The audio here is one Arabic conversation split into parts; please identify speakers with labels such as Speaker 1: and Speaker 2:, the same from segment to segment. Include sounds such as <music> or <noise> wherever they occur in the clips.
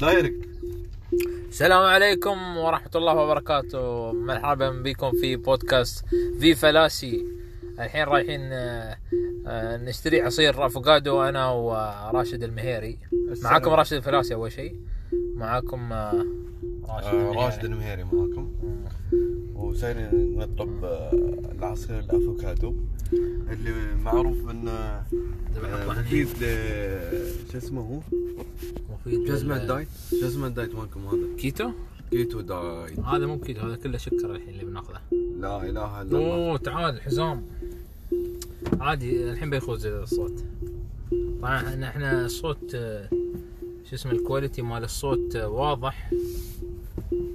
Speaker 1: دايركت
Speaker 2: السلام عليكم ورحمة الله وبركاته مرحبا بكم في بودكاست في فلاسي الحين رايحين آه، آه، نشتري عصير افوكادو انا وراشد المهيري معاكم
Speaker 1: السلام.
Speaker 2: راشد الفلاسي اول شيء معاكم آه، راشد
Speaker 1: آه،
Speaker 2: المهيري.
Speaker 1: راشد المهيري معاكم وسايرين نطلب آه، العصير الافوكادو اللي معروف انه آه، مفيد ل شو اسمه هو؟
Speaker 2: مفيد
Speaker 1: جزمة
Speaker 2: لل-
Speaker 1: دايت جزمة دايت مالكم هذا
Speaker 2: كيتو
Speaker 1: كيتو دايت
Speaker 2: هذا مو كيتو هذا كله شكر الحين اللي بناخذه
Speaker 1: لا اله الا الله
Speaker 2: اوه تعال حزام عادي الحين بيخوز الصوت طبعا إحنا- احنا الصوت آه، شو اسمه الكواليتي مال الصوت آه، واضح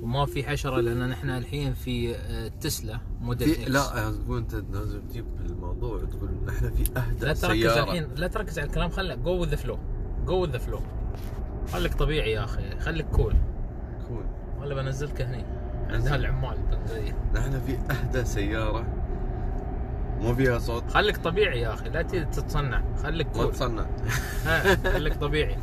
Speaker 2: وما في حشره لان نحن الحين في آه، تسلا موديل
Speaker 1: في
Speaker 2: اكس
Speaker 1: لا آه، تقول انت لازم تجيب الموضوع تقول نحن في
Speaker 2: لا
Speaker 1: اهدى
Speaker 2: تركز
Speaker 1: سيارة
Speaker 2: الحين لا تركز على الكلام خلك جو وذ فلو جو وذ فلو خليك طبيعي يا اخي خليك كول
Speaker 1: كول.
Speaker 2: ولا بنزلك هني عند
Speaker 1: نزل.
Speaker 2: هالعمال بنزلية.
Speaker 1: نحن في اهدى سيارة مو فيها صوت
Speaker 2: خليك طبيعي يا اخي لا ت- تتصنع خليك
Speaker 1: ما
Speaker 2: كول
Speaker 1: تصنع
Speaker 2: ها، خليك
Speaker 1: <laughs>
Speaker 2: طبيعي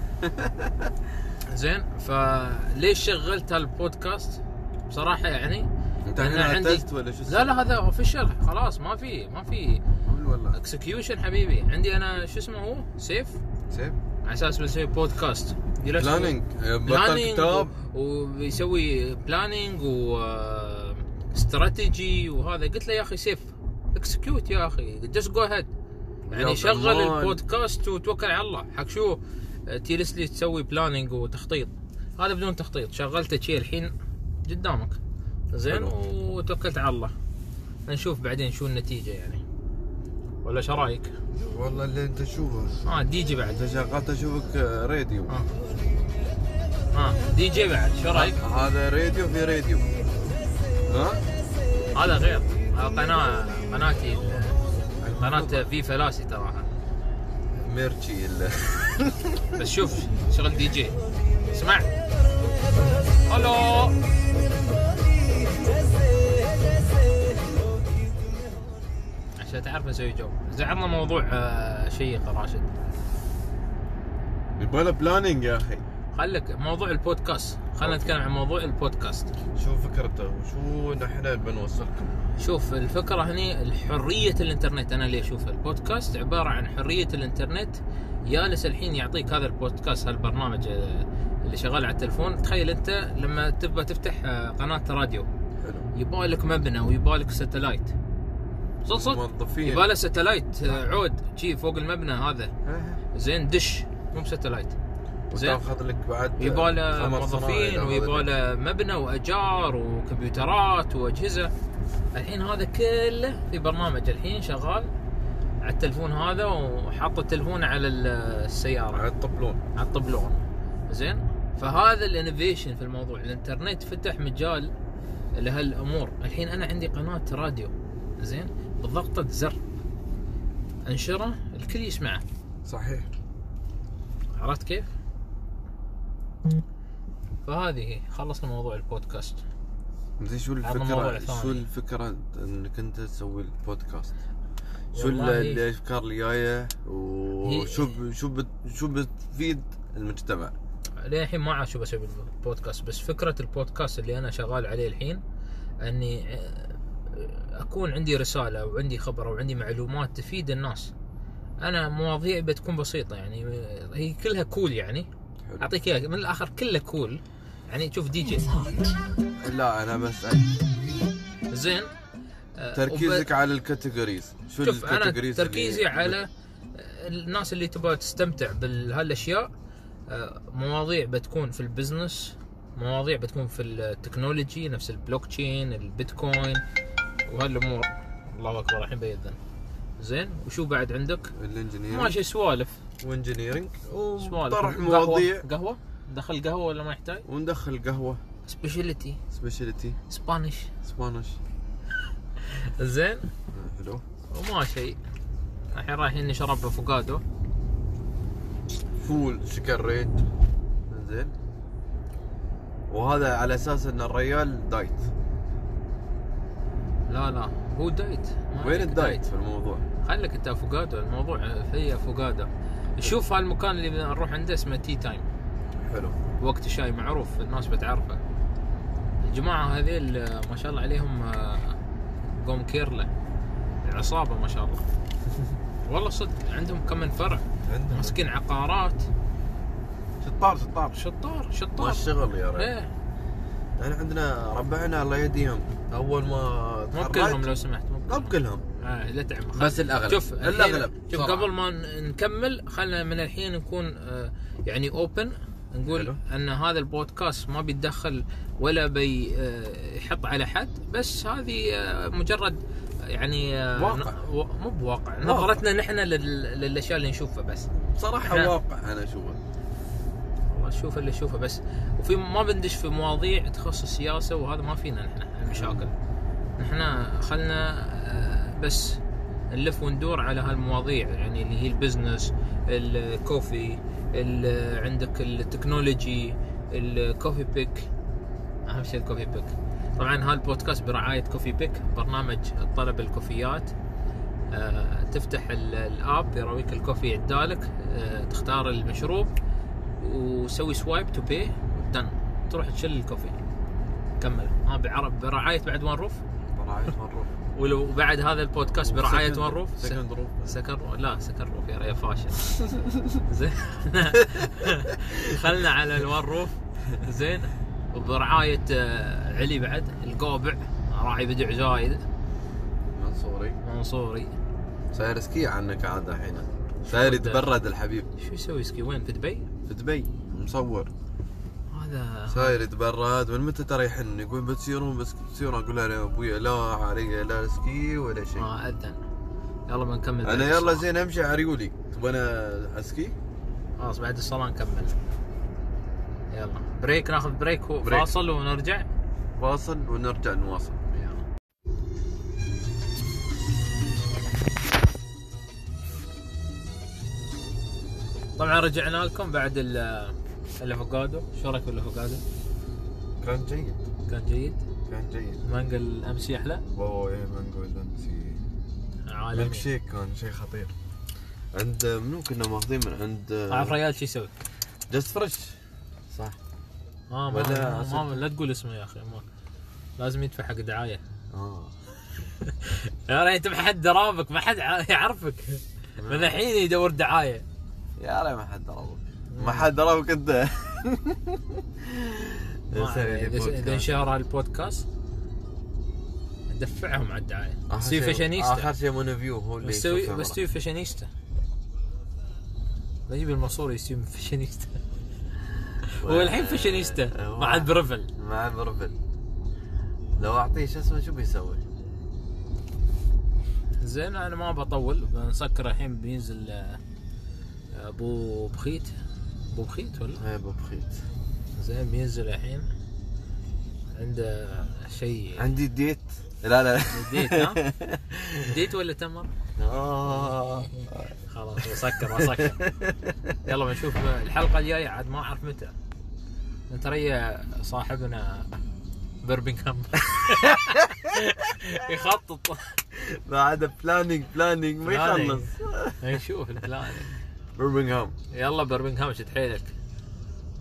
Speaker 2: زين فليش شغلت هالبودكاست بصراحه يعني
Speaker 1: انت
Speaker 2: أنا
Speaker 1: الحين
Speaker 2: عندي-
Speaker 1: عتزت ولا شو
Speaker 2: لا لا هذا اوفيشال خلاص ما في ما في
Speaker 1: قول والله
Speaker 2: اكسكيوشن حبيبي عندي انا شو اسمه هو سيف
Speaker 1: سيف
Speaker 2: على اساس بنسوي بودكاست جلست-
Speaker 1: بلاننج آه، بطل
Speaker 2: بلانينج
Speaker 1: كتاب
Speaker 2: و- وبيسوي بلانينج و استراتيجي وهذا قلت له يا اخي سيف اكسكيوت يا اخي جست جو هيد يعني
Speaker 1: يا
Speaker 2: شغل
Speaker 1: ضمان.
Speaker 2: البودكاست وتوكل على الله حق شو آه، تجلس لي تسوي بلانينج وتخطيط هذا بدون تخطيط شغلته شيء الحين قدامك زين
Speaker 1: حلو.
Speaker 2: وتوكلت على الله نشوف بعدين شو النتيجه يعني ولا شو رايك؟
Speaker 1: والله اللي انت تشوفه آه.
Speaker 2: اه دي جي بعد
Speaker 1: انت شغلت اشوفك راديو
Speaker 2: اه اه دي جي بعد شو رايك؟
Speaker 1: هذا راديو في راديو ها
Speaker 2: هذا غير هذا قناة قناتي ال- قناة في فلاسي تراها
Speaker 1: ميرتشي ال- <laughs>
Speaker 2: بس شوف شغل دي جي اسمع الو عشان تعرف اسوي جو زعلنا موضوع آه، شيق راشد
Speaker 1: يبغى له بلاننج يا اخي
Speaker 2: خلك موضوع البودكاست خلينا نتكلم عن موضوع البودكاست
Speaker 1: شو فكرته شو نحن بنوصلكم
Speaker 2: شوف الفكرة هني حرية الانترنت انا اللي اشوفها البودكاست عبارة عن حرية الانترنت جالس الحين يعطيك هذا البودكاست هالبرنامج آه، اللي شغال على التلفون تخيل انت لما تبى تفتح آه، قناة راديو
Speaker 1: حلو
Speaker 2: يبالك مبنى ويبالك ستلايت صدق صدق
Speaker 1: موظفين
Speaker 2: يباله ستلايت آه، عود شي فوق المبنى هذا
Speaker 1: ها،
Speaker 2: زين دش مو بستلايت زين
Speaker 1: وتاخذ لك بعد
Speaker 2: يباله
Speaker 1: خمس
Speaker 2: موظفين
Speaker 1: صنايع.
Speaker 2: ويباله مبنى واجار وكمبيوترات واجهزه الحين هذا كله في برنامج الحين شغال على التلفون هذا وحاط التلفون على السياره
Speaker 1: على الطبلون
Speaker 2: على الطبلون زين فهذا الانوفيشن في الموضوع الانترنت فتح مجال لهالامور الحين انا عندي قناه راديو زين بضغطه زر انشره الكل يسمعه
Speaker 1: صحيح
Speaker 2: عرفت كيف؟ فهذه هي خلصنا موضوع البودكاست
Speaker 1: زين شو
Speaker 2: هذا موضوع
Speaker 1: الفكره
Speaker 2: ثاني.
Speaker 1: شو الفكره انك انت تسوي البودكاست شو ال-
Speaker 2: والله-
Speaker 1: الافكار اللي جايه وشو
Speaker 2: هي-
Speaker 1: ب- شو بت- شو بتفيد المجتمع
Speaker 2: للحين ما عاد شو بسوي بالبودكاست بس فكره البودكاست اللي انا شغال عليه الحين اني آه، اكون عندي رساله وعندي خبر وعندي معلومات تفيد الناس انا مواضيعي بتكون بسيطه يعني آه، هي كلها كول يعني
Speaker 1: حلو.
Speaker 2: اعطيك اياها من الاخر كلها كول يعني تشوف دي جي
Speaker 1: لا انا بسال
Speaker 2: زين آه، وب-
Speaker 1: تركيزك على الكاتيجوريز شو
Speaker 2: شوف انا
Speaker 1: الكاتيجوريز اللي-
Speaker 2: تركيزي على آه، الناس اللي تبغى تستمتع بهالاشياء آه، مواضيع بتكون في البزنس مواضيع بتكون في التكنولوجي نفس البلوك تشين البيتكوين وهالامور الله اكبر الحين بيذن زين وشو بعد عندك؟
Speaker 1: الانجنييرنج
Speaker 2: ماشي سوالف
Speaker 1: وانجنييرنج
Speaker 2: سوالف
Speaker 1: وطرح
Speaker 2: قهوة-
Speaker 1: مواضيع
Speaker 2: قهوه دخل قهوه ولا ما يحتاج؟
Speaker 1: وندخل قهوه
Speaker 2: سبيشاليتي
Speaker 1: سبيشاليتي
Speaker 2: سبانيش
Speaker 1: سبانش
Speaker 2: زين
Speaker 1: حلو
Speaker 2: وما شيء الحين رايحين نشرب افوكادو
Speaker 1: فول شكر ريت زين وهذا على اساس ان الريال دايت
Speaker 2: لا لا هو دايت ما
Speaker 1: وين
Speaker 2: عليك
Speaker 1: الدايت في الموضوع؟
Speaker 2: خليك انت افوكادو الموضوع فيه افوكادو شوف هالمكان اللي بنروح عنده اسمه تي تايم
Speaker 1: حلو
Speaker 2: وقت الشاي معروف الناس بتعرفه الجماعه هذيل آه، ما شاء الله عليهم آه، قوم كيرلا عصابه ما شاء الله والله صدق عندهم كم من فرع
Speaker 1: عندنا
Speaker 2: ماسكين عقارات
Speaker 1: شطار شطار
Speaker 2: شطار شطار
Speaker 1: والشغل يا رجل
Speaker 2: ايه
Speaker 1: يعني عندنا ربعنا الله يهديهم اول ما
Speaker 2: مو
Speaker 1: تخرجت-
Speaker 2: بكلهم لو سمحت مو
Speaker 1: مو
Speaker 2: بكلهم.
Speaker 1: بكلهم
Speaker 2: آه، لا تعمل
Speaker 3: بس الاغلب
Speaker 2: شوف
Speaker 1: الأغلب.
Speaker 2: الحين شوف
Speaker 3: بسرعة.
Speaker 2: قبل ما ن- نكمل خلينا من الحين نكون آه، يعني اوبن نقول
Speaker 1: حلو.
Speaker 2: ان هذا البودكاست ما بيتدخل ولا بيحط على حد بس هذه آه، مجرد يعني آه،
Speaker 1: واقع.
Speaker 2: ن- و- مو بواقع
Speaker 1: واقع.
Speaker 2: نظرتنا نحن لل- للاشياء اللي نشوفها بس
Speaker 1: بصراحه
Speaker 2: نعم.
Speaker 1: واقع انا اشوفه
Speaker 2: والله شوف اللي اشوفه بس وفي ما بندش في مواضيع تخص السياسه وهذا ما فينا نحن المشاكل نحن خلنا آه، بس نلف وندور على هالمواضيع يعني اللي هي البزنس الكوفي ال- عندك التكنولوجي الكوفي بيك اهم شيء الكوفي بيك طبعا هالبودكاست برعايه كوفي بيك برنامج طلب الكوفيات آه، تفتح ال- الاب يراويك الكوفي عدالك آه، تختار المشروب وسوي سوايب تو بي دن تروح تشل الكوفي كمل ها بعرب برعايه بعد ون روف
Speaker 1: برعايه مره
Speaker 2: ولو بعد هذا البودكاست برعايه
Speaker 1: سكن-
Speaker 2: ون روف
Speaker 1: سكن روف
Speaker 2: سكر رو... لا سكر روف يا ريال فاشل زين <laughs> خلنا على الون روف زين وبرعايه آه، علي بعد القابع راعي بدع زايد
Speaker 1: منصوري
Speaker 2: منصوري
Speaker 1: صاير سكي عنك عاد الحين صاير يتبرد الحبيب
Speaker 2: شو يسوي سكي وين في دبي؟
Speaker 1: في دبي مصور
Speaker 2: هذا
Speaker 1: صاير يتبرد من متى ترى يحن يقول بتصيرون بس بتصيرون اقول له يا ابوي لا علي لا سكي ولا شيء
Speaker 2: ما اذن آه، يلا بنكمل بعد
Speaker 1: انا يلا
Speaker 2: الصلاة.
Speaker 1: زين امشي على ريولي تبغى انا اسكي
Speaker 2: خلاص بعد الصلاه نكمل يلا بريك ناخذ بريك
Speaker 1: بريك.
Speaker 2: وفاصل ونرجع
Speaker 1: فاصل ونرجع نواصل يلا.
Speaker 2: طبعا رجعنا لكم بعد ال- الافوكادو شو رايك بالافوكادو؟
Speaker 1: كان جيد
Speaker 2: كان جيد
Speaker 1: كان جيد
Speaker 2: مانجا الامسي احلى
Speaker 1: واو يا مانجو لمسي
Speaker 2: عالمي
Speaker 1: ميلك شيك كان شيء خطير عند منو كنا ماخذين من
Speaker 2: تعرف
Speaker 1: عند
Speaker 2: ريال شو يسوي؟
Speaker 1: جاست فريش صح
Speaker 2: آه ما,
Speaker 1: ولا
Speaker 2: ما,
Speaker 1: أسد.
Speaker 2: ما لا تقول اسمه يا اخي ما. لازم يدفع حق دعايه
Speaker 1: اه
Speaker 2: يا ريت ما حد درابك ما حد ع- يعرفك من الحين يدور دعايه
Speaker 1: يا ريت ما حد ضربك ما حد ضربك <laughs> انت يا
Speaker 2: ما
Speaker 1: سيدي
Speaker 2: عليه. اذا
Speaker 1: بودكاست.
Speaker 2: إذا انشهر هالبودكاست ندفعهم على الدعايه
Speaker 1: آخر
Speaker 2: سوي
Speaker 1: شيء-
Speaker 2: فاشينيستا
Speaker 1: اخر شيء مون فيو هو اللي
Speaker 2: بسوي
Speaker 1: يشوف
Speaker 2: بسوي فاشينيستا بجيب المنصور يسوي
Speaker 1: <laughs>
Speaker 2: فاشينيستا
Speaker 1: المرة.
Speaker 2: هو الحين
Speaker 1: <laughs>
Speaker 2: فاشينيستا
Speaker 1: آه،
Speaker 2: ما عاد برفل
Speaker 1: مع بربل لو اعطيه شو اسمه شو بيسوي؟
Speaker 2: زين انا ما بطول بنسكر الحين بينزل آه، ابو بخيت ابو بخيت ولا
Speaker 1: هاي ابو بخيت
Speaker 2: زين بينزل الحين عنده شيء
Speaker 1: عندي ديت لا لا <laughs>
Speaker 2: ديت ها ديت ولا تمر؟
Speaker 1: آه.
Speaker 2: خلاص بسكر بسكر يلا بنشوف الحلقه الجايه عاد ما اعرف متى انت ريا صاحبنا برمنغهام يخطط
Speaker 1: بعد بلانينج بلانينج ما يخلص
Speaker 2: نشوف البلان
Speaker 1: برمنغهام
Speaker 2: يلا برمنغهام شد حيلك